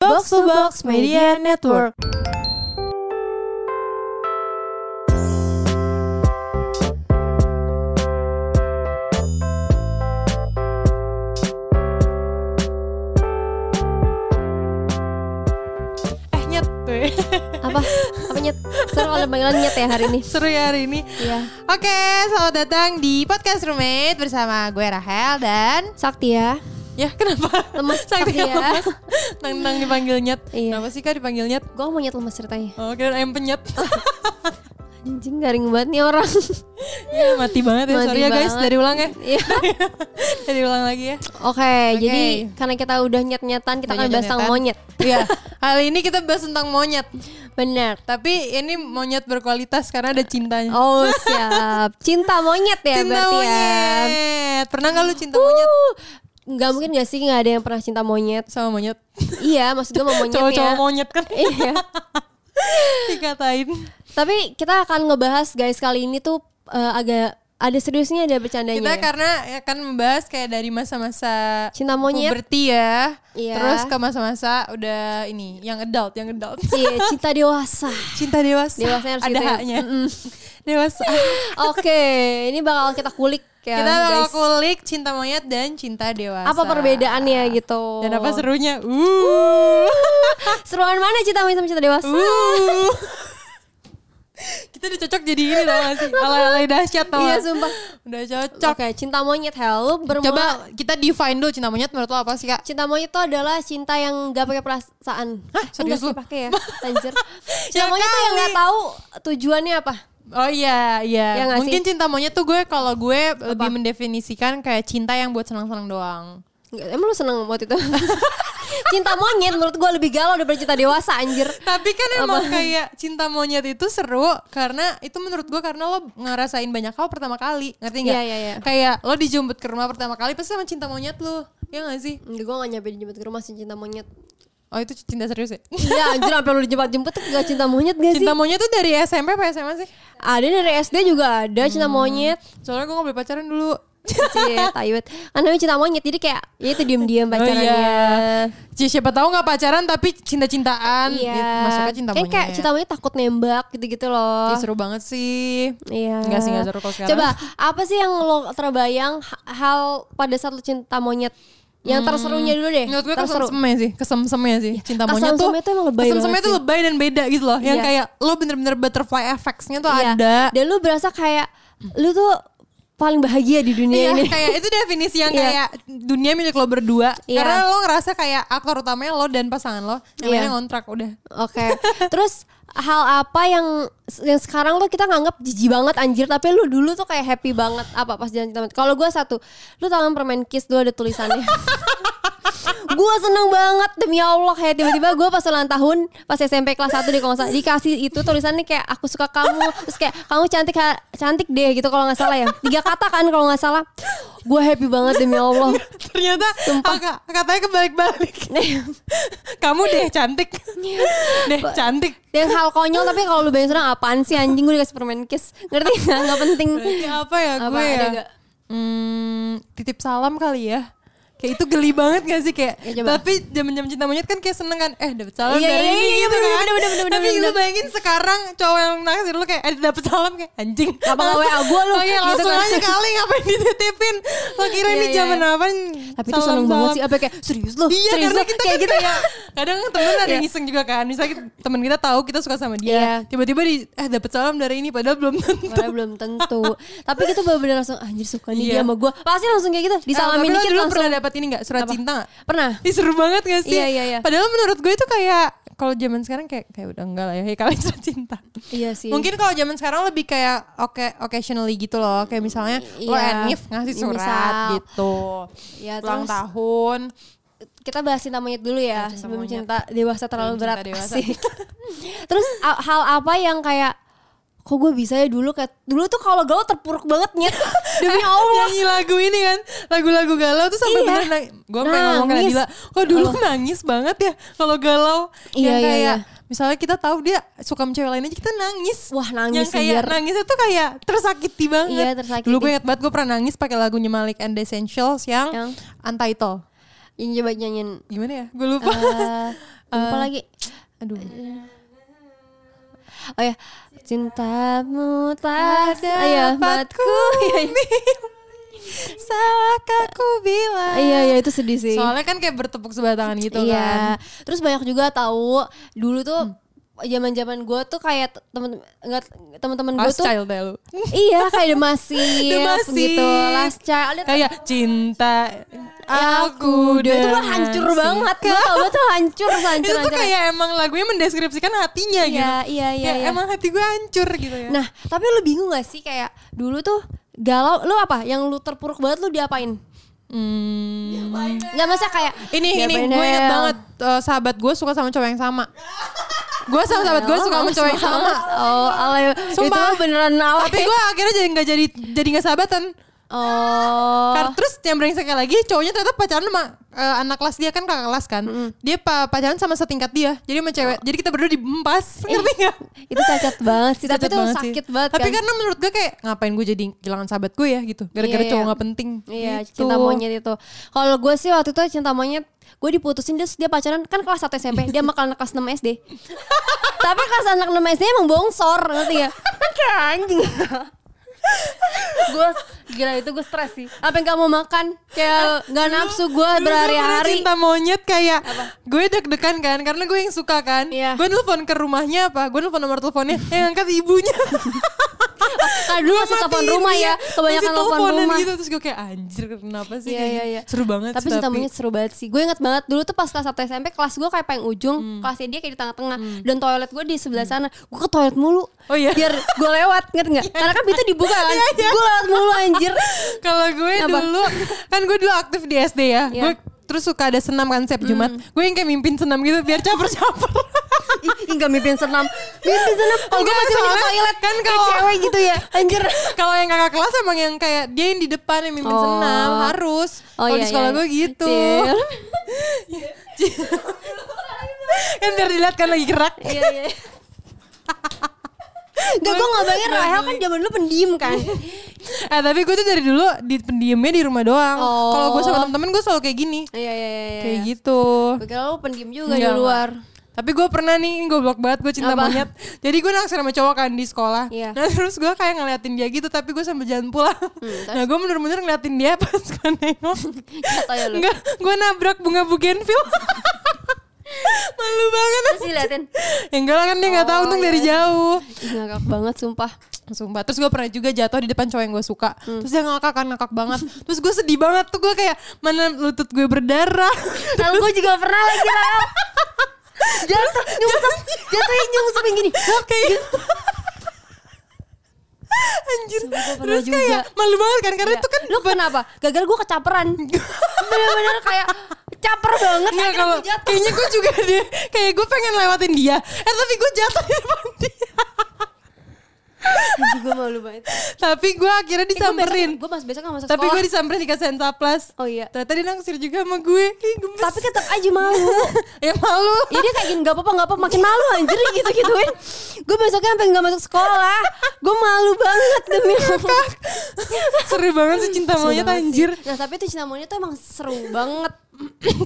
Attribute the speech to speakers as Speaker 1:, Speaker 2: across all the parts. Speaker 1: Box to Box Media Network.
Speaker 2: Eh, Eh nyet Weh,
Speaker 3: apa apa nyet seru oleh panggilan nyet ya hari ini
Speaker 2: Seru ya hari ini
Speaker 3: iya
Speaker 2: Oke selamat datang di Podcast Roommate Bersama gue Rahel dan
Speaker 3: sakti ya
Speaker 2: Ya kenapa?
Speaker 3: lemes sakti
Speaker 2: Sakti
Speaker 3: ya
Speaker 2: lemes. Nang-nang dipanggil nyet
Speaker 3: Iya.
Speaker 2: Kenapa sih kak dipanggil nyet?
Speaker 3: gue mau nyet lemes ceritanya
Speaker 2: Oh kira ayam penyet
Speaker 3: anjing garing banget nih orang
Speaker 2: Ya mati banget ya
Speaker 3: Mati
Speaker 2: Sorry ya guys
Speaker 3: banget.
Speaker 2: dari ulang ya
Speaker 3: Iya.
Speaker 2: Dari ulang lagi ya
Speaker 3: oke jadi karena kita udah nyet nyetan kita
Speaker 2: Udah
Speaker 3: akan bahas tentang
Speaker 2: nyet-nyetan.
Speaker 3: monyet
Speaker 2: Iya Kali ini kita bahas tentang monyet
Speaker 3: benar
Speaker 2: Tapi ini monyet berkualitas karena ada cintanya
Speaker 3: oh siap cinta monyet ya
Speaker 2: Cinta
Speaker 3: berarti ya
Speaker 2: monyet Pernah gak lu cinta monyet?
Speaker 3: Uh, nggak mungkin gak sih nggak ada yang pernah cinta monyet
Speaker 2: Sama monyet
Speaker 3: iya maksud gue mau monyet
Speaker 2: Cowok-cowok
Speaker 3: ya
Speaker 2: monyet kan
Speaker 3: iya
Speaker 2: dikatain
Speaker 3: tapi kita akan ngebahas guys kali ini tuh eh, agak ada seriusnya ada bercandanya
Speaker 2: Kita Iya. karena akan membahas kayak dari masa-masa
Speaker 3: Cinta monyet.
Speaker 2: puberti ya.
Speaker 3: Iya.
Speaker 2: Terus ke masa-masa udah ini yang adult, yang adult.
Speaker 3: Iya, cinta dewasa.
Speaker 2: Cinta dewasa.
Speaker 3: Dewasa harus
Speaker 2: ada
Speaker 3: gitu ya.
Speaker 2: haknya. Dewasa.
Speaker 3: Oke, ini bakal kita kulik ya.
Speaker 2: Kita bakal
Speaker 3: guys.
Speaker 2: kulik cinta monyet dan cinta dewasa.
Speaker 3: Apa perbedaannya gitu?
Speaker 2: Dan apa serunya? Uh.
Speaker 3: Seruan mana cinta monyet sama cinta dewasa?
Speaker 2: Uh. Kita udah cocok jadi ini tau gak sih? Alay-alay dahsyat tau
Speaker 3: Iya,
Speaker 2: gak?
Speaker 3: sumpah.
Speaker 2: Udah
Speaker 3: Oke,
Speaker 2: cocok.
Speaker 3: cinta monyet help bermula
Speaker 2: Coba kita define dulu cinta monyet menurut lo apa sih kak?
Speaker 3: Cinta monyet itu adalah cinta yang gak pakai perasaan.
Speaker 2: Hah, serius
Speaker 3: Enggak sih
Speaker 2: lu?
Speaker 3: pakai ya, anjir.
Speaker 2: Ya
Speaker 3: Cinta monyet tuh yang
Speaker 2: kali.
Speaker 3: gak tahu tujuannya apa.
Speaker 2: Oh iya,
Speaker 3: Iya
Speaker 2: iya.
Speaker 3: nggak sih?
Speaker 2: Mungkin cinta monyet tuh gue kalau gue lebih mendefinisikan kayak cinta yang buat senang-senang doang.
Speaker 3: Nggak, Emang lu seneng waktu itu? cinta monyet menurut gue lebih galau daripada cinta dewasa anjir.
Speaker 2: Tapi kan emang kayak cinta monyet itu seru karena itu menurut gue karena lo ngerasain banyak hal pertama kali, ngerti nggak?
Speaker 3: Iya, iya, iya.
Speaker 2: Kayak lo dijemput ke rumah pertama kali pasti sama cinta monyet lo, ya nggak sih?
Speaker 3: Enggak, gue gak nyampe dijemput ke rumah sih cinta monyet.
Speaker 2: Oh itu cinta serius ya?
Speaker 3: Iya anjir sampai lu dijemput-jemput tuh gak cinta monyet gak sih?
Speaker 2: cinta monyet tuh dari SMP apa SMA sih?
Speaker 3: Ada dari SD juga ada
Speaker 2: Hmm.
Speaker 3: cinta monyet.
Speaker 2: Soalnya gue nggak boleh pacaran dulu.
Speaker 3: Cie, taiwet. Kan namanya cinta monyet jadi kayak ya itu diam-diam
Speaker 2: Oh
Speaker 3: pacarannya.
Speaker 2: iya. Ci, Ya, siapa tahu nggak pacaran tapi cinta-cintaan.
Speaker 3: Iya.
Speaker 2: Ya, Masuknya cinta
Speaker 3: Kan
Speaker 2: monyet.
Speaker 3: kayak cinta monyet takut nembak gitu-gitu
Speaker 2: Ih,
Speaker 3: loh.
Speaker 2: seru banget sih.
Speaker 3: Iya.
Speaker 2: Nggak sih, nggak seru kalau sekarang.
Speaker 3: Coba apa sih yang lo terbayang ha- hal pada saat lo cinta monyet? Yang terserunya dulu deh.
Speaker 2: Hmm. Menurut gue
Speaker 3: terseru.
Speaker 2: kesemsemnya sih, kesemsemnya sih. Cinta monyet tuh,
Speaker 3: Iya, kesemsemnya tuh emang lebay
Speaker 2: kesemsemnya
Speaker 3: banget
Speaker 2: tuh
Speaker 3: sih.
Speaker 2: lebay dan beda gitu loh. Yang
Speaker 3: Iya.
Speaker 2: kayak lo bener-bener butterfly effects-nya tuh
Speaker 3: Iya.
Speaker 2: ada.
Speaker 3: Dan lu berasa kayak lu tuh paling bahagia di
Speaker 2: Iya,
Speaker 3: dunia ini.
Speaker 2: kayak itu definisi yang
Speaker 3: Iya.
Speaker 2: kayak dunia milik lo berdua.
Speaker 3: Iya.
Speaker 2: Karena lo ngerasa kayak aktor utamanya lo dan pasangan lo, yang
Speaker 3: Iya.
Speaker 2: lainnya ngontrak udah.
Speaker 3: Oke. Terus hal apa yang yang sekarang lo kita nganggap jijik banget anjir tapi lu dulu tuh kayak happy banget apa pas jalan cinta monyet? Kalau gue satu, lu tau kan permen kiss dulu ada tulisannya. gue seneng banget demi Allah kayak tiba-tiba gue pas ulang tahun pas SMP kelas 1 di kalau nggak salah, dikasih itu tulisannya kayak aku suka kamu terus kayak kamu cantik ha- cantik deh gitu kalau nggak salah ya tiga kata kan kalau nggak salah gue happy banget demi Allah
Speaker 2: Ternyata ah, Kak, katanya kebalik-balik. Kamu deh cantik.
Speaker 3: Iya.
Speaker 2: deh cantik.
Speaker 3: yang hal konyol tapi kalau lu bayangin sekarang apaan sih anjing gue dikasih permen kiss ngerti nggak nggak penting
Speaker 2: Berarti apa ya
Speaker 3: Apa,
Speaker 2: gue
Speaker 3: ada
Speaker 2: ya?
Speaker 3: nggak?
Speaker 2: Hmm, titip salam kali ya. Kayak itu geli banget gak sih kayak.
Speaker 3: Ya, coba.
Speaker 2: Tapi zaman-zaman cinta monyet kan kayak seneng kan. Eh dapet salam
Speaker 3: Iya,
Speaker 2: dari
Speaker 3: iya,
Speaker 2: ini
Speaker 3: iya,
Speaker 2: gitu
Speaker 3: bener,
Speaker 2: kan.
Speaker 3: bener, bener, bener,
Speaker 2: Tapi
Speaker 3: bener,
Speaker 2: lu
Speaker 3: bener.
Speaker 2: bayangin sekarang cowok yang naksir lu kayak eh dapet salam kayak anjing.
Speaker 3: Apa nggak
Speaker 2: Langsung-
Speaker 3: WA gua lu?
Speaker 2: Oh iya
Speaker 3: Gitu
Speaker 2: langsung
Speaker 3: kan.
Speaker 2: aja kali ngapain dititipin. Lo kira
Speaker 3: Iya,
Speaker 2: ini
Speaker 3: iya.
Speaker 2: zaman apa?
Speaker 3: tapi itu seneng banget sih apa kayak serius lu
Speaker 2: Iya
Speaker 3: serius
Speaker 2: karena
Speaker 3: lu?"
Speaker 2: kita
Speaker 3: kayak
Speaker 2: kan
Speaker 3: gitu
Speaker 2: kayak kadang temen ada yang
Speaker 3: Iya.
Speaker 2: iseng juga kan Misalnya kita- temen kita tahu kita suka sama dia
Speaker 3: Iya.
Speaker 2: Tiba-tiba di eh dapet salam dari ini padahal belum tentu
Speaker 3: Padahal belum tentu tapi kita bener-bener langsung anjir suka nih
Speaker 2: Iya.
Speaker 3: dia sama gue pasti langsung kayak gitu disalamin
Speaker 2: Eh, tapi lo
Speaker 3: dikit
Speaker 2: dulu
Speaker 3: langsung
Speaker 2: pernah dapat ini gak surat
Speaker 3: Apa?
Speaker 2: cinta gak?
Speaker 3: pernah
Speaker 2: Ih seru banget gak sih?
Speaker 3: Iya, iya, iya.
Speaker 2: Padahal menurut gue itu kayak kalau zaman sekarang kayak kayak udah enggak lah ya kalau surat cinta.
Speaker 3: iya sih
Speaker 2: Mungkin kalau zaman sekarang lebih kayak oke occasionally gitu loh, kayak misalnya lo
Speaker 3: Iya.
Speaker 2: enif ngasih
Speaker 3: Ya,
Speaker 2: surat
Speaker 3: misal.
Speaker 2: gitu.
Speaker 3: Ya,
Speaker 2: Ulang
Speaker 3: terus-
Speaker 2: tahun.
Speaker 3: kita bahas cinta monyet dulu ya
Speaker 2: Cinta
Speaker 3: sebelum
Speaker 2: Iya, monyet.
Speaker 3: cinta dewasa terlalu
Speaker 2: Sebelum
Speaker 3: berat
Speaker 2: cinta dewasa.
Speaker 3: Asik. terus a- hal apa yang kayak kok gue bisa ya dulu kayak dulu tuh kalau galau terpuruk banget nyet demi Allah
Speaker 2: Nyanyi lagu ini kan, lagu-lagu galau tuh sampai
Speaker 3: Iya.
Speaker 2: bener nang, gue pengen ngomong ke
Speaker 3: Nangis.
Speaker 2: Nadila, kok dulu nangis banget ya kalau galau
Speaker 3: Iya,
Speaker 2: yang
Speaker 3: iya,
Speaker 2: kayak
Speaker 3: iya.
Speaker 2: misalnya kita tahu dia suka sama cewek lain aja kita nangis.
Speaker 3: Wah, nangis,
Speaker 2: Yang kayak
Speaker 3: anjir.
Speaker 2: nangisnya tuh kayak tersakiti banget.
Speaker 3: Iya, tersakiti.
Speaker 2: Dulu gue ingat banget gue pernah nangis pakai lagunya Malik and the Essentials yang,
Speaker 3: Yang?
Speaker 2: Untitled.
Speaker 3: ini coba nyanyiin
Speaker 2: Gimana ya? Gue lupa.
Speaker 3: eh, Apa lagi?
Speaker 2: Aduh.
Speaker 3: Oh ya, cintamu tak
Speaker 2: Ada
Speaker 3: dapatku. Iya, iya.
Speaker 2: Salahkah ku bilang?
Speaker 3: Iya, iya itu sedih sih.
Speaker 2: Soalnya kan kayak bertepuk sebelah tangan gitu kan.
Speaker 3: iya. Terus banyak juga tahu dulu tuh
Speaker 2: Hmm.
Speaker 3: zaman-zaman gue tuh kayak temen nggak teman-teman gue
Speaker 2: Pas
Speaker 3: tuh
Speaker 2: child ya lu.
Speaker 3: iya kayak demasi
Speaker 2: Demasi.
Speaker 3: gitu last child ada
Speaker 2: Kayak cinta aku
Speaker 3: itu
Speaker 2: dan
Speaker 3: kan hancur banget gue tau banget tuh hancur hancur
Speaker 2: Itu tuh kayak emang lagunya mendeskripsikan hatinya
Speaker 3: Iya,
Speaker 2: gitu.
Speaker 3: iya, iya,
Speaker 2: Kayak
Speaker 3: iya.
Speaker 2: Emang hati gue hancur gitu ya.
Speaker 3: nah tapi lu bingung gak sih kayak dulu tuh galau lu apa yang lu terpuruk banget lu diapain
Speaker 2: Hmm.
Speaker 3: nggak masa kayak
Speaker 2: Ini ini
Speaker 3: diapain
Speaker 2: gue inget
Speaker 3: Del?
Speaker 2: banget eh, sahabat gue suka sama cowok yang sama. Gue sama sahabat gue suka sama cowok yang sama.
Speaker 3: Oh, alay.
Speaker 2: Sumpah.
Speaker 3: Itu beneran alay.
Speaker 2: Tapi gue akhirnya jadi nggak jadi jadi nggak sahabatan.
Speaker 3: Oh.
Speaker 2: Karena terus yang brengseknya lagi cowoknya ternyata pacaran sama eh, anak kelas dia kan kakak kelas kan. Dia pa- pacaran sama setingkat dia. Jadi sama cewek. Jadi kita berdua diempas. Ngerti nggak?
Speaker 3: itu cacat banget sih, tapi
Speaker 2: Cacat
Speaker 3: itu
Speaker 2: banget sih.
Speaker 3: sakit banget
Speaker 2: Tapi
Speaker 3: kan.
Speaker 2: karena menurut gue kayak ngapain gue jadi kehilangan sahabat gue ya gitu. Gara-gara
Speaker 3: Iya, iya.
Speaker 2: cowok nggak penting.
Speaker 3: Iya,
Speaker 2: Gitu.
Speaker 3: cinta monyet itu. Kalau gue sih waktu itu cinta monyet, gue diputusin dia, dia pacaran kan kelas 1 SMP, dia sama anak kelas 6 SD. Tapi kelas anak 6 SD emang bongsor, ngerti ya? Kayak anjing. gue gila itu gue stres sih. Apa yang kamu makan? Kayak nggak nafsu gue
Speaker 2: Dulu pernah
Speaker 3: berhari-hari.
Speaker 2: cinta monyet kayak gue deg-degan kan karena gue yang suka kan
Speaker 3: Iya.
Speaker 2: gue nelfon ke rumahnya apa gue nelfon nomor teleponnya yang angkat ibunya
Speaker 3: Kalau dulu masih telepon
Speaker 2: Matiin
Speaker 3: rumah
Speaker 2: dia.
Speaker 3: ya, kebanyakan
Speaker 2: Masih
Speaker 3: telepon
Speaker 2: teleponan
Speaker 3: rumah.
Speaker 2: gitu terus gue kayak anjir kenapa sih
Speaker 3: Iya,
Speaker 2: kayak
Speaker 3: iya, iya.
Speaker 2: gitu. seru banget
Speaker 3: tapi
Speaker 2: sih,
Speaker 3: cinta monyet seru banget sih gue ingat banget dulu tuh pas kelas 1 SMP kelas gue kayak paling ujung
Speaker 2: Hmm.
Speaker 3: kelasnya dia kayak di tengah-tengah dan toilet gue di sebelah sana gue ke toilet mulu
Speaker 2: Oh iya.
Speaker 3: biar gue lewat ngerti nggak karena kan pintu dibuka kan
Speaker 2: Iya, iya.
Speaker 3: gue lewat mulu anjir
Speaker 2: kalau gue
Speaker 3: Apa?
Speaker 2: dulu kan gue dulu aktif di SD ya
Speaker 3: Iya. Hmm.
Speaker 2: gue terus suka ada senam kan setiap Jumat gue yang kayak mimpin senam gitu biar caper-caper
Speaker 3: Ih, ih, nggak mimpin senam mimpin senam oh gue
Speaker 2: Enggak,
Speaker 3: masih mau ke
Speaker 2: soalnya
Speaker 3: toilet
Speaker 2: kan
Speaker 3: Kayak
Speaker 2: kalau-
Speaker 3: cewek gitu ya anjir
Speaker 2: kalau yang kakak kelas emang yang kayak dia yang di depan yang mimpin
Speaker 3: Oh.
Speaker 2: senam harus
Speaker 3: Oh,
Speaker 2: kalau
Speaker 3: iya,
Speaker 2: di sekolah
Speaker 3: iya.
Speaker 2: gue gitu
Speaker 3: Cil.
Speaker 2: kan biar dilihat kan lagi gerak
Speaker 3: Iya iya. Gak gue nggak bayangin Rahel kan zaman dulu pendiam kan.
Speaker 2: Eh tapi gue tuh dari dulu di pendiemnya di rumah doang.
Speaker 3: Oh.
Speaker 2: Kalau gue sama temen-temen gue selalu kayak gini,
Speaker 3: Iya iya iya. iya.
Speaker 2: kayak gitu.
Speaker 3: Gue kira lu pendiam juga
Speaker 2: Enggak,
Speaker 3: di luar.
Speaker 2: Tapi gue pernah nih, ini goblok banget gue cinta
Speaker 3: Apa?
Speaker 2: monyet. Jadi gue naksir sama cowok kan di sekolah.
Speaker 3: Iya. Hmm,
Speaker 2: Nah terus gue kayak ngeliatin dia gitu, tapi gue sambil jalan pulang. nah gue bener-bener ngeliatin dia pas gue nengok.
Speaker 3: Kata ya lu.
Speaker 2: Enggak, gue nabrak bunga bugenvil. Malu banget.
Speaker 3: Terus diliatin. Oh, iya.
Speaker 2: Ya enggak lah kan dia nggak tahu untung dari jauh.
Speaker 3: Ih, ngakak banget sumpah.
Speaker 2: Sumpah. Terus gue pernah juga jatuh di depan cowok yang gue suka.
Speaker 3: Hmm.
Speaker 2: Terus dia ngakak kan ngakak banget. Terus gue sedih banget tuh gue kayak mana lutut gue berdarah.
Speaker 3: Kalau gue juga pernah lagi Rahel. Jatuh, nyungsep, jatuhnya nyungsep yang gini.
Speaker 2: Terus
Speaker 3: Iya.
Speaker 2: kayak Anjir.
Speaker 3: Sumpah, gue pernah
Speaker 2: Terus kayak
Speaker 3: juga.
Speaker 2: malu banget kan karena
Speaker 3: Iya.
Speaker 2: itu kan
Speaker 3: Lu kenapa? Gagal gue kecaperan. Bener-bener kayak caper banget.
Speaker 2: Nggak,
Speaker 3: akhirnya
Speaker 2: kalau
Speaker 3: gua jatuh.
Speaker 2: kayaknya gue juga deh kayak gue pengen lewatin dia. Eh tapi gue jatuh di depan dia.
Speaker 3: Anjing, gue malu banget.
Speaker 2: Tapi gue
Speaker 3: Eh,
Speaker 2: akhirnya disamperin.
Speaker 3: Gue masih besok gak masuk
Speaker 2: tapi gue
Speaker 3: sekolah.
Speaker 2: disamperin dikasih Plus.
Speaker 3: Oh iya.
Speaker 2: Ternyata dia naksir juga sama gue. Ih, gemes.
Speaker 3: Tapi tetap aja malu.
Speaker 2: ya malu.
Speaker 3: Ya dia kayak gini, gak apa-apa, gak apa-apa. Makin malu anjir gitu-gituin. Gue besoknya sampai gak masuk sekolah. Gue malu banget demi Allah.
Speaker 2: Seru banget sih cinta
Speaker 3: Seru
Speaker 2: monyet
Speaker 3: banget sih.
Speaker 2: anjir.
Speaker 3: Nah tapi itu cinta monyet tuh emang seru banget.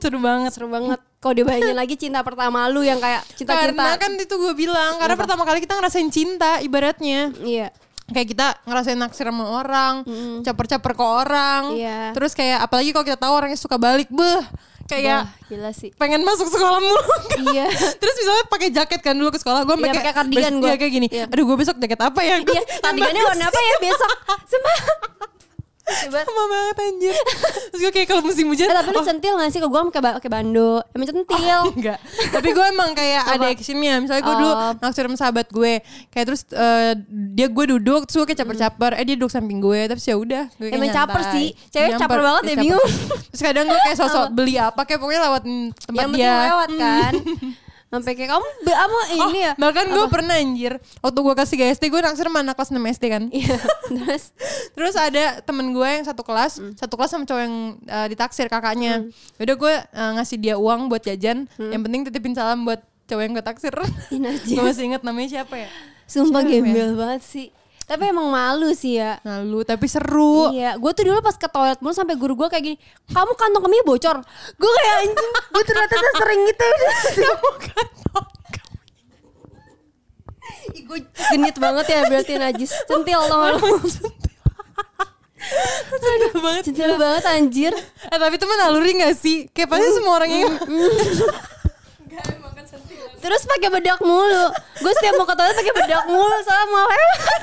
Speaker 2: Seru banget.
Speaker 3: Seru banget. Kalau dibayangin lagi cinta pertama lu yang kayak
Speaker 2: Karena
Speaker 3: cinta-cinta.
Speaker 2: kan itu gue bilang, karena pertama kali kita ngerasain cinta ibaratnya.
Speaker 3: Iya.
Speaker 2: Kayak kita ngerasain naksir sama orang, caper-caper ke orang.
Speaker 3: Iya.
Speaker 2: Terus kayak apalagi kalau kita tahu orangnya suka balik, beh. Kayak
Speaker 3: Wah, gila sih.
Speaker 2: pengen masuk sekolah mulu. kan?
Speaker 3: Iya.
Speaker 2: Terus misalnya pakai jaket kan dulu ke sekolah, gue
Speaker 3: Iya, pakai kardigan gua.
Speaker 2: kayak gini.
Speaker 3: Iya.
Speaker 2: Aduh, gue besok jaket apa ya? Gua-
Speaker 3: Iya, tandingannya warna apa ya besok? Sumpah. Coba.
Speaker 2: Sama banget anjir. Terus gue kayak kalau musim hujan,
Speaker 3: Eh, tapi
Speaker 2: oh,
Speaker 3: lu centil gak sih ke gue pakai ba- pakai bando? Emang centil.
Speaker 2: Enggak. Tapi gue emang kayak ada actionnya. Misalnya gue dulu
Speaker 3: Oh.
Speaker 2: naksir sama sahabat gue. Kayak terus eh, dia gue duduk, terus gue kayak caper-caper. Eh dia duduk samping gue, tapi ya udah. gue kayak
Speaker 3: Hmm. Emang caper
Speaker 2: nyantai.
Speaker 3: sih. Cewek caper banget
Speaker 2: Iya,
Speaker 3: deh,
Speaker 2: caper.
Speaker 3: bingung.
Speaker 2: Terus kadang gue kayak sosok beli apa, kayak pokoknya lewat mm, tempat
Speaker 3: Yang penting
Speaker 2: dia.
Speaker 3: lewat kan. Sampai kayak kamu kamu
Speaker 2: Oh,
Speaker 3: ini ya.
Speaker 2: bahkan gue pernah anjir Waktu gue kasih ke SD Gue naksir sama anak kelas 6 SD kan
Speaker 3: Iya, terus
Speaker 2: Terus ada temen gue yang satu kelas,
Speaker 3: Hmm.
Speaker 2: satu kelas sama cowok yang eh, ditaksir kakaknya. Yaudah gue eh, ngasih dia uang buat jajan.
Speaker 3: Hmm.
Speaker 2: Yang penting titipin salam buat cowok yang gue taksir.
Speaker 3: Ih, najis.
Speaker 2: gue masih inget namanya siapa ya?
Speaker 3: sumpah
Speaker 2: Siapa ya?
Speaker 3: gembel banget sih. Tapi emang malu sih ya.
Speaker 2: Malu tapi seru.
Speaker 3: Iya, gue tuh dulu pas ke toilet mulu sampai guru gue kayak gini, kamu kantong kemih bocor. Gue kayak anjing, gue ternyata tuh sering gitu. kamu kantong Gue genit banget ya berarti najis. Centil tau gak lu.
Speaker 2: Aduh banget.
Speaker 3: Centil banget anjir.
Speaker 2: Eh tapi itu menaluri gak sih? Kayak pasti
Speaker 3: Hmm.
Speaker 2: semua orang yang
Speaker 3: Terus pakai bedak mulu. Gue setiap mau ke toilet pakai bedak mulu soalnya mau lewat.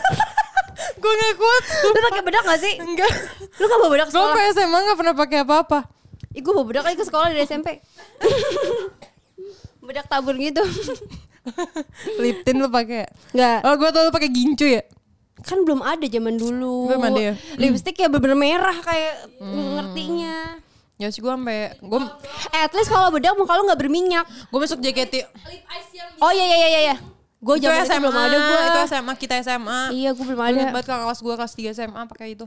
Speaker 2: gue gak kuat.
Speaker 3: Lu pakai bedak gak sih?
Speaker 2: Enggak.
Speaker 3: Lu gak bawa bedak
Speaker 2: Gue
Speaker 3: sekolah?
Speaker 2: sampai SMA gak pernah pakai apa-apa.
Speaker 3: Ih gue bawa bedak lagi ke sekolah dari SMP. bedak tabur gitu.
Speaker 2: Liptin lu pakai.
Speaker 3: Enggak.
Speaker 2: Oh gue tau lu pakai gincu ya.
Speaker 3: kan belum ada zaman dulu.
Speaker 2: Belum ada ya?
Speaker 3: Lipstick ya bener merah kayak ngertinya.
Speaker 2: Ya sih gue sampai gue
Speaker 3: Eh, at least kalau bedak muka lu nggak berminyak.
Speaker 2: gue masuk JKT.
Speaker 3: Oh iya iya iya iya. Gue
Speaker 2: Itu
Speaker 3: zaman itu
Speaker 2: SMA
Speaker 3: belum ada gue.
Speaker 2: Itu SMA kita SMA.
Speaker 3: Iya, gue belum ada.
Speaker 2: Ingat Ah. banget kakak kelas gue kelas 3 SMA pakai itu.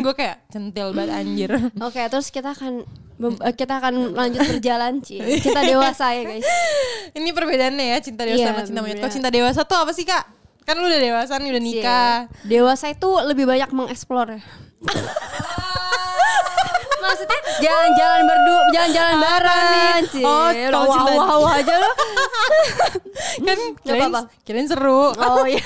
Speaker 2: gue kayak centil banget anjir.
Speaker 3: Oke, terus kita akan mem- eh, kita akan lanjut berjalan, Ci. Kita dewasa ya, guys.
Speaker 2: Ini perbedaannya ya cinta dewasa
Speaker 3: Iya,
Speaker 2: sama cinta monyet. Kalau
Speaker 3: bener.
Speaker 2: cinta dewasa tuh apa sih kak? Kan lu udah dewasa nih udah nikah.
Speaker 3: Iya. Dewasa itu lebih banyak mengeksplor ya. Maksudnya jalan-jalan berdua, jalan-jalan bareng, Ci.
Speaker 2: Oh,
Speaker 3: Lu
Speaker 2: tahu cinta-
Speaker 3: wah-wah aja lu.
Speaker 2: kan kirain,
Speaker 3: apa-apa.
Speaker 2: kirain seru.
Speaker 3: Oh iya.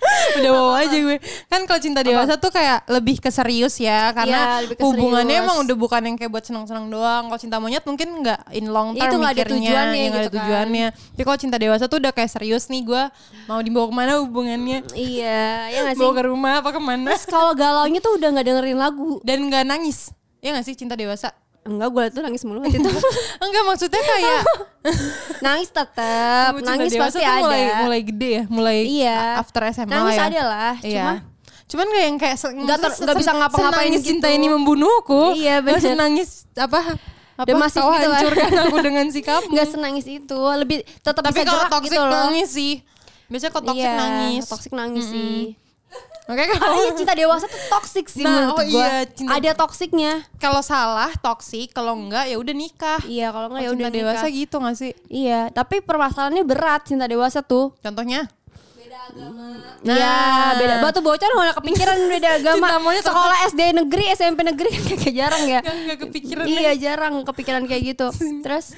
Speaker 2: udah bawa aja gue kan kalau cinta dewasa tuh kayak lebih ke serius ya karena
Speaker 3: Iya, lebih ke
Speaker 2: hubungannya
Speaker 3: serius.
Speaker 2: emang udah bukan yang kayak buat senang-senang doang kalau cinta monyet mungkin nggak in long term
Speaker 3: Itu nggak ada
Speaker 2: mikirnya
Speaker 3: tujuannya
Speaker 2: yang nggak ada
Speaker 3: gitu kan.
Speaker 2: tujuannya tapi kalau cinta dewasa tuh udah kayak serius nih gue mau dibawa kemana hubungannya
Speaker 3: Iya, ya nggak sih?
Speaker 2: bawa ke rumah apa kemana
Speaker 3: Terus kalau galaunya tuh udah nggak dengerin lagu.
Speaker 2: dan nggak nangis ya nggak sih cinta dewasa
Speaker 3: Enggak, gue tuh nangis mulu waktu itu.
Speaker 2: enggak maksudnya kayak
Speaker 3: nangis tetap,
Speaker 2: cinta
Speaker 3: nangis
Speaker 2: dewasa
Speaker 3: pasti
Speaker 2: tuh
Speaker 3: ada.
Speaker 2: mulai mulai gede ya mulai
Speaker 3: Iya.
Speaker 2: after SMA
Speaker 3: Nangis
Speaker 2: ya
Speaker 3: ada lah,
Speaker 2: Iya.
Speaker 3: cuma-
Speaker 2: cuman kayak yang kayak se-
Speaker 3: Nggak ter-
Speaker 2: se-
Speaker 3: nggak bisa
Speaker 2: sen-
Speaker 3: ngapa-ngapain
Speaker 2: senangis
Speaker 3: gitu.
Speaker 2: cinta ini membunuhku
Speaker 3: Iya, bener.
Speaker 2: senangis apa apa
Speaker 3: Dan masif
Speaker 2: kau
Speaker 3: gitu lah.
Speaker 2: hancurkan aku dengan sikapmu
Speaker 3: Nggak senangis itu, lebih tetap
Speaker 2: Hmm. tapi
Speaker 3: bisa
Speaker 2: kalau
Speaker 3: gerak
Speaker 2: toxic
Speaker 3: gitu loh.
Speaker 2: nangis sih biasanya kalau toxic
Speaker 3: Iya,
Speaker 2: nangis
Speaker 3: Toxic nangis sih.
Speaker 2: oke kalau
Speaker 3: Ah, iya, cinta dewasa tuh toxic sih
Speaker 2: Nah, oh
Speaker 3: menurut gue.
Speaker 2: iya, cinta-
Speaker 3: Ada toxicnya.
Speaker 2: kalau salah toxic kalau enggak ya udah nikah
Speaker 3: Iya, kalau nggak ya
Speaker 2: Kalau
Speaker 3: udah
Speaker 2: Oh, cinta dewasa
Speaker 3: nikah.
Speaker 2: gitu gak sih
Speaker 3: Iya, tapi permasalahannya berat cinta dewasa tuh.
Speaker 2: contohnya
Speaker 3: Iya,
Speaker 2: Nah.
Speaker 3: beda. Batu bocor nggak kepikiran beda agama.
Speaker 2: Cinta monyet sama-
Speaker 3: Sekolah SD negeri, SMP negeri kayak jarang ya.
Speaker 2: Kan nggak kepikiran
Speaker 3: Iya jarang kepikiran kayak gitu. Terus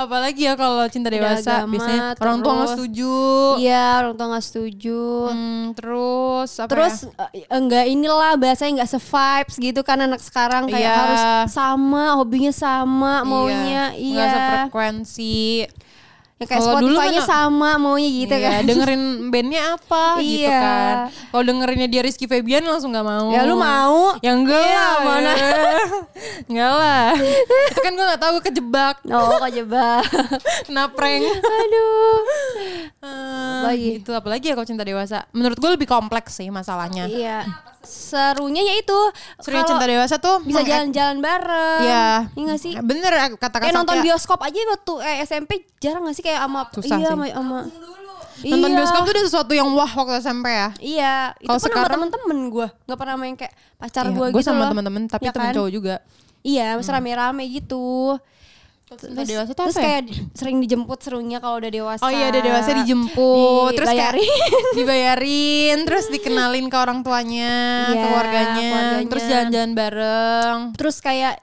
Speaker 2: apalagi ya kalau cinta dewasa
Speaker 3: agama,
Speaker 2: biasanya orang tua nggak
Speaker 3: terus-
Speaker 2: setuju
Speaker 3: iya orang tua nggak setuju.
Speaker 2: Hmm, terus apa
Speaker 3: Terus
Speaker 2: ya?
Speaker 3: eh, enggak inilah bahasanya enggak se-vibes gitu kan anak sekarang kayak
Speaker 2: Iya.
Speaker 3: harus sama, hobinya sama, maunya iya.
Speaker 2: nggak sefrekuensi
Speaker 3: Ya, kayak
Speaker 2: Kalau dulu
Speaker 3: Spotify-nya
Speaker 2: kan-
Speaker 3: sama, maunya gitu
Speaker 2: Iya,
Speaker 3: kan.
Speaker 2: dengerin bandnya apa gitu
Speaker 3: Iya.
Speaker 2: kan kalau dengerinnya dia Rizky Febian langsung nggak mau
Speaker 3: Ya, lu mau.
Speaker 2: ya enggak
Speaker 3: Iya,
Speaker 2: lah
Speaker 3: mana?
Speaker 2: enggak lah itu kan gue nggak tahu gue kejebak
Speaker 3: Oh, kejebak.
Speaker 2: kena prank
Speaker 3: Aduh.
Speaker 2: Eh,
Speaker 3: Apalagi?
Speaker 2: gitu apalagi ya kalau cinta dewasa menurut gue lebih kompleks sih masalahnya
Speaker 3: Iya. Serunya ya itu
Speaker 2: ya. Serunya
Speaker 3: kalau
Speaker 2: cinta dewasa tuh
Speaker 3: bisa
Speaker 2: mengek-
Speaker 3: jalan-jalan bareng.
Speaker 2: Iya.
Speaker 3: Iya nggak sih?
Speaker 2: bener kata-kata
Speaker 3: Kayak nonton bioskop aja waktu eh, SMP jarang gak sih kayak sama
Speaker 2: Susah
Speaker 3: iya
Speaker 2: sih.
Speaker 3: sama, sama
Speaker 2: Nonton
Speaker 3: Iya.
Speaker 2: bioskop tuh udah sesuatu yang wah waktu SMP ya.
Speaker 3: Iya, itu
Speaker 2: Kalau
Speaker 3: pun sama
Speaker 2: sekarang-
Speaker 3: temen-temen gue Gak pernah main kayak pacar
Speaker 2: Iya,
Speaker 3: gue
Speaker 2: gua
Speaker 3: gitu
Speaker 2: sama
Speaker 3: loh.
Speaker 2: teman-teman, tapi
Speaker 3: Ya
Speaker 2: temen
Speaker 3: kan?
Speaker 2: cowok juga.
Speaker 3: Iya, masih rame-rame gitu
Speaker 2: cinta dewasa tuh
Speaker 3: terus
Speaker 2: apa ya?
Speaker 3: kayak di- sering dijemput serunya kalau udah dewasa
Speaker 2: Oh iya, ada dewasa dijemput, terus kayak
Speaker 3: Dibayarin.
Speaker 2: dibayarin, terus dikenalin ke orang tuanya,
Speaker 3: Iya,
Speaker 2: keluarganya,
Speaker 3: keluarganya.
Speaker 2: terus jalan-jalan bareng.
Speaker 3: Terus kayak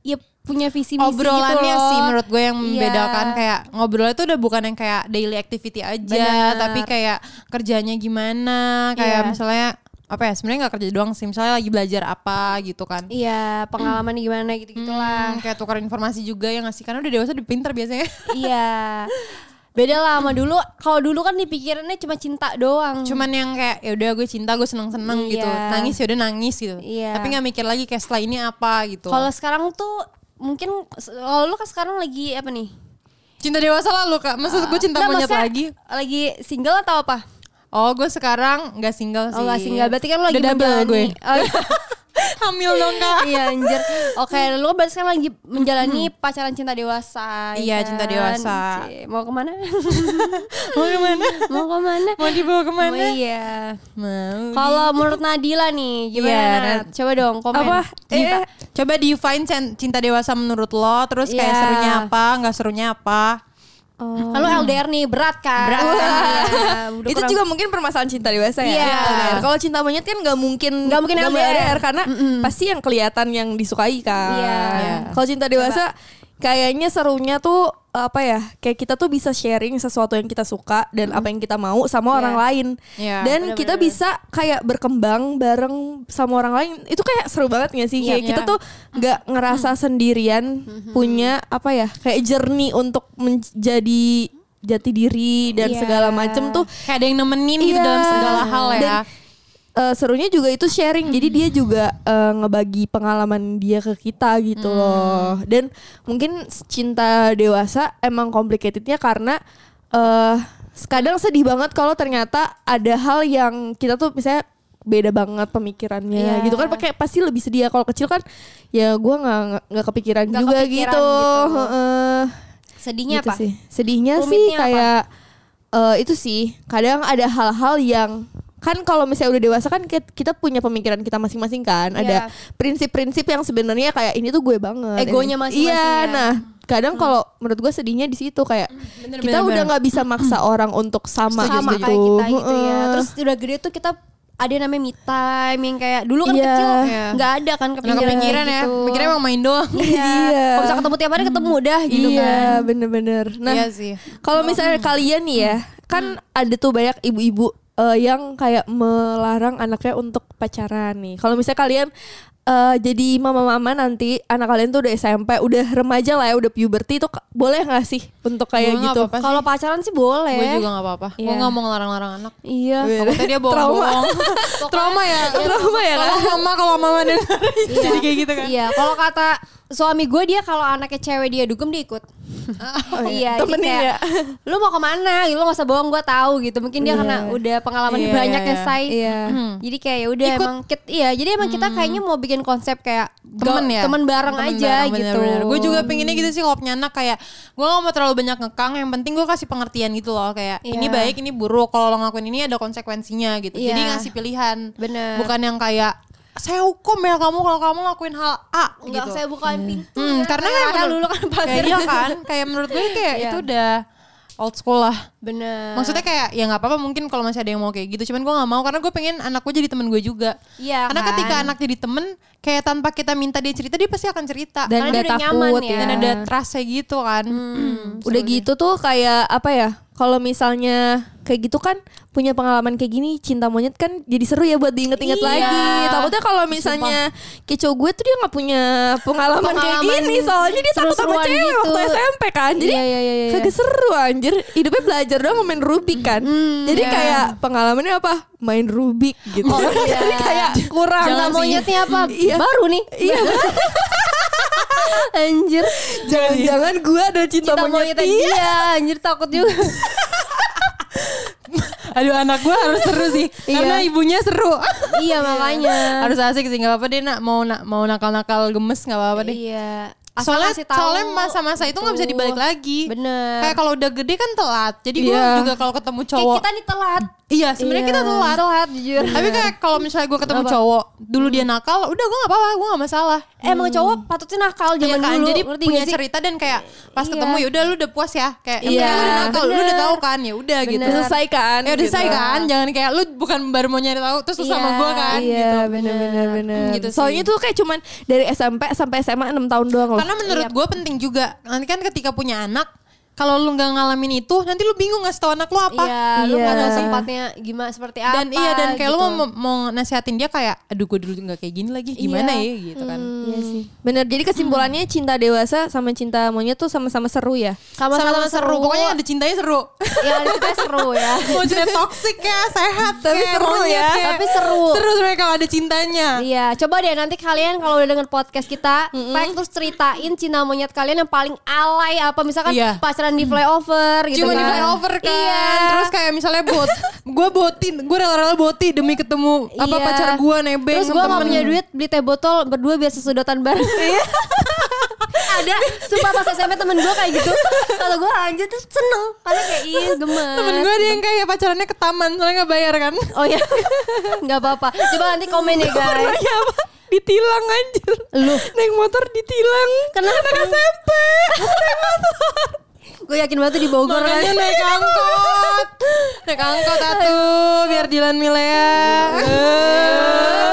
Speaker 3: ya punya visi misi
Speaker 2: Obrolannya
Speaker 3: gitu loh.
Speaker 2: sih menurut gue yang
Speaker 3: Iya.
Speaker 2: membedakan kayak ngobrolnya tuh udah bukan yang kayak daily activity aja,
Speaker 3: Benar.
Speaker 2: tapi kayak kerjanya gimana, kayak
Speaker 3: Iya.
Speaker 2: misalnya apa ya sebenarnya nggak kerja doang sih, misalnya lagi belajar apa gitu kan.
Speaker 3: Iya, pengalaman gimana gitu-gitu lah.
Speaker 2: Hmm, kayak tukar informasi juga yang ngasih karena udah dewasa udah pinter biasanya.
Speaker 3: Iya. Beda lah sama dulu. Kalau dulu kan dipikirannya cuma cinta doang.
Speaker 2: cuman yang kayak ya udah gue cinta gue seneng seneng
Speaker 3: Iya.
Speaker 2: gitu nangis ya udah nangis gitu
Speaker 3: Iya.
Speaker 2: tapi nggak mikir lagi kayak setelah ini apa gitu
Speaker 3: Kalau sekarang tuh mungkin kalau lu kan sekarang lagi apa nih?
Speaker 2: cinta dewasa lalu kak maksud gue cinta
Speaker 3: Nggak,
Speaker 2: monyet
Speaker 3: maksudnya
Speaker 2: lagi
Speaker 3: Lagi single atau apa?
Speaker 2: oh gue sekarang nggak single sih
Speaker 3: Oh, nggak single. Berarti kan lu lagi
Speaker 2: udah double
Speaker 3: menjalani.
Speaker 2: gue
Speaker 3: Oh, iya.
Speaker 2: hamil dong kak
Speaker 3: iya anjir. Oke, lu kan berarti sekarang lagi menjalani pacaran cinta dewasa. ya
Speaker 2: Iya, cinta dewasa.
Speaker 3: Cie, Mau kemana?
Speaker 2: mau kemana
Speaker 3: mau kemana?
Speaker 2: mau dibawa
Speaker 3: Oh,
Speaker 2: kemana
Speaker 3: iya.
Speaker 2: mau
Speaker 3: Kalau menurut Nadila nih gimana?
Speaker 2: Iya,
Speaker 3: Nad?
Speaker 2: Nad.
Speaker 3: Coba dong komen.
Speaker 2: apa
Speaker 3: Cinta.
Speaker 2: eh, coba define cen- cinta dewasa menurut lo terus kayak
Speaker 3: Iya.
Speaker 2: serunya apa nggak serunya apa
Speaker 3: Kalau LDR LDR nih berat kan.
Speaker 4: Berat
Speaker 3: Wah.
Speaker 4: kan,
Speaker 3: Udah
Speaker 4: itu
Speaker 3: kurang-
Speaker 4: juga mungkin permasalahan cinta dewasa ya.
Speaker 3: Iya.
Speaker 4: LDR. Kalau cinta monyet kan nggak mungkin
Speaker 3: Nggak mungkin LDR.
Speaker 4: karena pasti yang kelihatan yang disukai kan.
Speaker 3: Iya.
Speaker 2: Iya.
Speaker 4: Kalau cinta dewasa kayaknya serunya tuh apa ya? Kayak kita tuh bisa sharing sesuatu yang kita suka dan apa yang kita mau sama orang lain.
Speaker 2: Iya,
Speaker 4: Dan kita bisa kayak berkembang bareng sama orang lain. Itu kayak seru banget gak sih? Kayak
Speaker 2: Iya.
Speaker 4: kita tuh nggak ngerasa sendirian punya apa ya? Kayak journey untuk menjadi jati diri dan
Speaker 3: Iya.
Speaker 4: segala macem tuh
Speaker 2: kayak ada yang nemenin gitu
Speaker 4: Iya.
Speaker 2: dalam segala hal ya
Speaker 4: Dan, eh, serunya juga itu sharing. Jadi dia
Speaker 3: Hmm.
Speaker 4: juga eh, ngebagi pengalaman dia ke kita gitu
Speaker 3: Hmm.
Speaker 4: loh. Dan mungkin cinta dewasa emang complicatednya karena eh kadang sedih banget kalau ternyata ada hal yang kita tuh misalnya beda banget pemikirannya
Speaker 3: Iya.
Speaker 4: gitu kan pakai pasti lebih sedih ya. kalau kecil kan ya gua nggak nggak kepikiran
Speaker 3: Nggak
Speaker 4: juga
Speaker 3: kepikiran
Speaker 4: gitu,
Speaker 3: gitu.
Speaker 4: Heeh
Speaker 3: sedihnya
Speaker 4: gitu
Speaker 3: apa?
Speaker 4: sih. Sedihnya
Speaker 3: Rumitnya
Speaker 4: sih
Speaker 3: apa?
Speaker 4: kayak eh, itu sih. Kadang ada hal-hal yang kan kalau misalnya udah dewasa kan ki- kita punya pemikiran kita masing-masing kan. Ada
Speaker 3: Iya.
Speaker 4: prinsip-prinsip yang sebenarnya kayak ini tuh gue banget.
Speaker 3: Egonya
Speaker 4: Ini-
Speaker 3: masing-masing ya.
Speaker 4: Iya,
Speaker 3: Hmm,
Speaker 4: nah kadang kalau menurut gue sedihnya di situ kayak kita
Speaker 2: bener,
Speaker 4: udah
Speaker 2: bener.
Speaker 4: nggak bisa maksa orang untuk sama,
Speaker 3: sama
Speaker 4: gitu.
Speaker 3: kayak kita gitu ya.
Speaker 4: Heeh.
Speaker 3: Terus udah gede tuh kita ada yang namanya me time yang kayak dulu kan
Speaker 4: Iya.
Speaker 3: kecil
Speaker 2: Iya.
Speaker 3: nggak ada kan
Speaker 2: nggak
Speaker 3: kepikiran,
Speaker 2: kepikiran ya
Speaker 3: gitu.
Speaker 2: mikirnya emang main doang
Speaker 3: Iya.
Speaker 4: Iya.
Speaker 3: Kalau bisa ketemu tiap hari ketemu dah gitu
Speaker 4: iya,
Speaker 3: kan.
Speaker 4: bener-bener. Nah,
Speaker 2: iya sih
Speaker 4: Kalau misalnya
Speaker 2: hmm.
Speaker 4: kalian nih ya, kan ada tuh banyak ibu-ibu eh, yang kayak melarang anaknya untuk pacaran nih. Kalau misalnya kalian eh, jadi mama-mama nanti anak kalian tuh udah SMP, udah remaja lah ya, udah puberty itu ke- boleh nggak sih untuk kayak
Speaker 2: Boleh, nggak
Speaker 4: gitu?
Speaker 2: apa-apa. sih?
Speaker 3: Kalau pacaran sih boleh.
Speaker 2: Hmm. gue juga nggak apa-apa gue
Speaker 4: Iya.
Speaker 2: nggak mau ngelarang-larang anak
Speaker 4: Iya.
Speaker 2: Takutnya dia bohong-bohong trauma ya
Speaker 4: Trauma ya kan?
Speaker 2: kalau mama kalau mama dan
Speaker 3: Iya.
Speaker 2: jadi kayak gitu kan
Speaker 3: Iya, kalau kata suami gue dia kalau anaknya cewek dia dugem dia ikut.
Speaker 2: Oh,
Speaker 3: iya, jadi
Speaker 4: Temenin
Speaker 3: kayak,
Speaker 4: ya.
Speaker 3: Lu mau kemana? Gitu, lu gak usah bohong, gue tahu gitu. Mungkin dia karena udah pengalaman
Speaker 2: Iya,
Speaker 3: banyak
Speaker 2: iya,
Speaker 3: ya, say.
Speaker 4: Iya.
Speaker 3: Hmm. Jadi kayak ya udah
Speaker 2: Ikut. Hmm.
Speaker 3: emang kita, iya, jadi emang kita kayaknya mau bikin konsep kayak
Speaker 2: temen
Speaker 3: go-
Speaker 2: ya
Speaker 3: temen bareng aja gitu.
Speaker 2: gue juga pinginnya gitu sih kalau punya anak kayak gue gak mau terlalu banyak ngekang yang penting gue kasih pengertian gitu loh kayak ini
Speaker 3: Iya.
Speaker 2: baik ini buruk kalau lo ngelakuin ini ada konsekuensinya gitu jadi
Speaker 3: Iya.
Speaker 2: ngasih pilihan
Speaker 3: Bener.
Speaker 2: bukan yang kayak saya hukum ya kamu kalau kamu ngelakuin hal A
Speaker 3: Enggak,
Speaker 2: gitu
Speaker 3: saya bukain pintu.
Speaker 2: Hmm, karena
Speaker 3: kayak
Speaker 2: kan
Speaker 3: Rahel
Speaker 2: menurut-
Speaker 3: dulu kan
Speaker 2: kayak
Speaker 3: pagar.
Speaker 2: iya kan kayak menurut gue kayak
Speaker 3: Iya. Nah.
Speaker 2: itu udah old school lah
Speaker 3: Bener.
Speaker 2: Maksudnya kayak ya nggak apa-apa mungkin kalau masih ada yang mau kayak gitu, cuman gue nggak mau karena gue pengen anak gue jadi temen gue juga.
Speaker 3: Iya
Speaker 2: Karena
Speaker 3: kan?
Speaker 2: ketika anak jadi temen, kayak tanpa kita minta dia cerita dia pasti akan cerita.
Speaker 3: Karena
Speaker 4: Dan udah
Speaker 3: dia udah
Speaker 4: takut
Speaker 3: nyaman
Speaker 4: ya.
Speaker 3: ya. Hmm.
Speaker 2: Dan ada trust gitu kan.
Speaker 4: Udah gitu tuh kayak apa ya? Kalau misalnya kayak gitu kan punya pengalaman kayak gini cinta monyet kan jadi seru ya buat diinget-inget
Speaker 3: Iya.
Speaker 4: lagi. Takutnya kalau misalnya kecoh gue tuh dia nggak punya pengalaman, kayak
Speaker 3: Pengalaman
Speaker 4: gini soalnya dia takut sama
Speaker 3: seru-seruan
Speaker 4: cewek
Speaker 3: gitu.
Speaker 4: waktu SMP kan. Jadi
Speaker 3: Iya, iya, iya, iya.
Speaker 4: kagak seru anjir. Hidupnya belajar doang main Rubik kan. jadi kayak pengalamannya apa? Main Rubik
Speaker 3: Iya.
Speaker 4: gitu.
Speaker 2: Oh,
Speaker 4: jadi
Speaker 2: iya.
Speaker 4: kayak kurang
Speaker 3: Jangan
Speaker 4: sih.
Speaker 3: monyetnya apa?
Speaker 4: Iya.
Speaker 3: Baru nih. Iya. Anjir. Iya.
Speaker 4: Jangan-jangan gue ada cinta,
Speaker 3: Kita
Speaker 4: monyet.
Speaker 3: monyetnya
Speaker 4: Iya.
Speaker 3: dia. Anjir takut juga.
Speaker 2: Aduh anak gue harus seru sih, karena ibunya seru.
Speaker 3: iya makanya.
Speaker 2: harus asik sih nggak apa-apa deh nak mau nak mau nakal-nakal gemes nggak apa-apa deh.
Speaker 3: Iya. Asal
Speaker 2: Soalnya,
Speaker 3: ngasih tahu,
Speaker 2: soalnya masa-masa itu nggak bisa
Speaker 3: gitu.
Speaker 2: dibalik lagi.
Speaker 3: Bener.
Speaker 2: Kayak kalau udah gede kan telat. Jadi gue
Speaker 4: Iya.
Speaker 2: juga kalau ketemu
Speaker 3: Kayak
Speaker 2: cowok,
Speaker 3: kita Iya. nih telat.
Speaker 2: iya sebenarnya kita telat.
Speaker 3: Telat jujur.
Speaker 2: Tapi kayak kalau misalnya gue ketemu cowok dulu dia nakal, udah gue nggak apa-apa, gue nggak masalah.
Speaker 3: Eh, Emang cowok patutnya nakal
Speaker 2: Iya
Speaker 3: zaman
Speaker 2: kan?
Speaker 3: dulu.
Speaker 2: jadi
Speaker 3: Hmm. ngerti
Speaker 2: punya
Speaker 3: gak sih?
Speaker 2: cerita dan kayak pas
Speaker 3: Iya.
Speaker 2: ketemu ya udah lu udah puas ya, kayak
Speaker 4: Iya,
Speaker 2: "Emang lu udah nakal, lu udah
Speaker 3: bener.
Speaker 2: tahu kan, ya udah gitu.
Speaker 3: Bener.
Speaker 4: Selesai kan?
Speaker 2: Ya udah
Speaker 4: gitu.
Speaker 2: selesai kan, jangan kayak lu bukan baru mau nyari tahu terus lu sama
Speaker 3: Iya,
Speaker 2: gue kan.
Speaker 4: Iya bener-bener bener.
Speaker 2: Gitu sih.
Speaker 4: Soalnya tuh kayak cuman dari SMP sampai SMA 6 tahun doang loh.
Speaker 2: Karena menurut gue penting juga nanti kan ketika punya anak kalau lu nggak ngalamin itu nanti lu bingung ngasih tau anak lu apa.
Speaker 3: Iya, lu
Speaker 4: Iya.
Speaker 3: gak tahu sempatnya gimana seperti apa.
Speaker 2: Dan iya dan kayak lu
Speaker 3: gitu.
Speaker 2: mau, mau nasihatin dia kayak aduh gue dulu nggak kayak gini lagi gimana ya gitu kan.
Speaker 4: Iya sih. Bener. Jadi kesimpulannya cinta dewasa sama cinta monyet tuh sama-sama seru ya.
Speaker 2: Sama-sama seru. Pokoknya ada cintanya seru.
Speaker 3: ya kita seru ya.
Speaker 2: Mau cinta toksik ya, sehat
Speaker 4: Tapi
Speaker 2: kayak
Speaker 4: seru
Speaker 2: monyet
Speaker 4: ya.
Speaker 3: Tapi seru.
Speaker 2: Seru sebenarnya kalau ada cintanya.
Speaker 3: Iya, coba deh nanti kalian kalau udah denger podcast kita, tag terus ceritain cinta monyet kalian yang paling alay apa misalkan
Speaker 2: Iya.
Speaker 3: pacaran di flyover gitu
Speaker 2: Cuma
Speaker 3: kan.
Speaker 2: di flyover kan.
Speaker 3: Iya.
Speaker 2: Terus kayak misalnya bot, gue botin, gue rela-rela boti demi ketemu apa
Speaker 3: Iya.
Speaker 2: pacar gue nebeng
Speaker 3: Terus gue gak
Speaker 2: temen. Iya.
Speaker 3: punya duit beli teh botol berdua biar sesudotan bareng. Ada, sumpah pas SMP temen gue kayak gitu. Kalau gue lanjut tuh seneng, karena kayak iya gemes.
Speaker 2: Temen gue ada yang kayak pacarannya ke taman soalnya gak bayar kan.
Speaker 3: Oh ya, nggak apa-apa. Coba nanti komen ya guys.
Speaker 4: Iya apa? Ditilang anjir. Lu naik motor ditilang.
Speaker 3: Kenapa?
Speaker 4: Anak SMP.
Speaker 3: Gue yakin banget tuh di Bogor kan.
Speaker 2: Makanya naik angkot. naik angkot atuh biar Dilan Milea. Eh.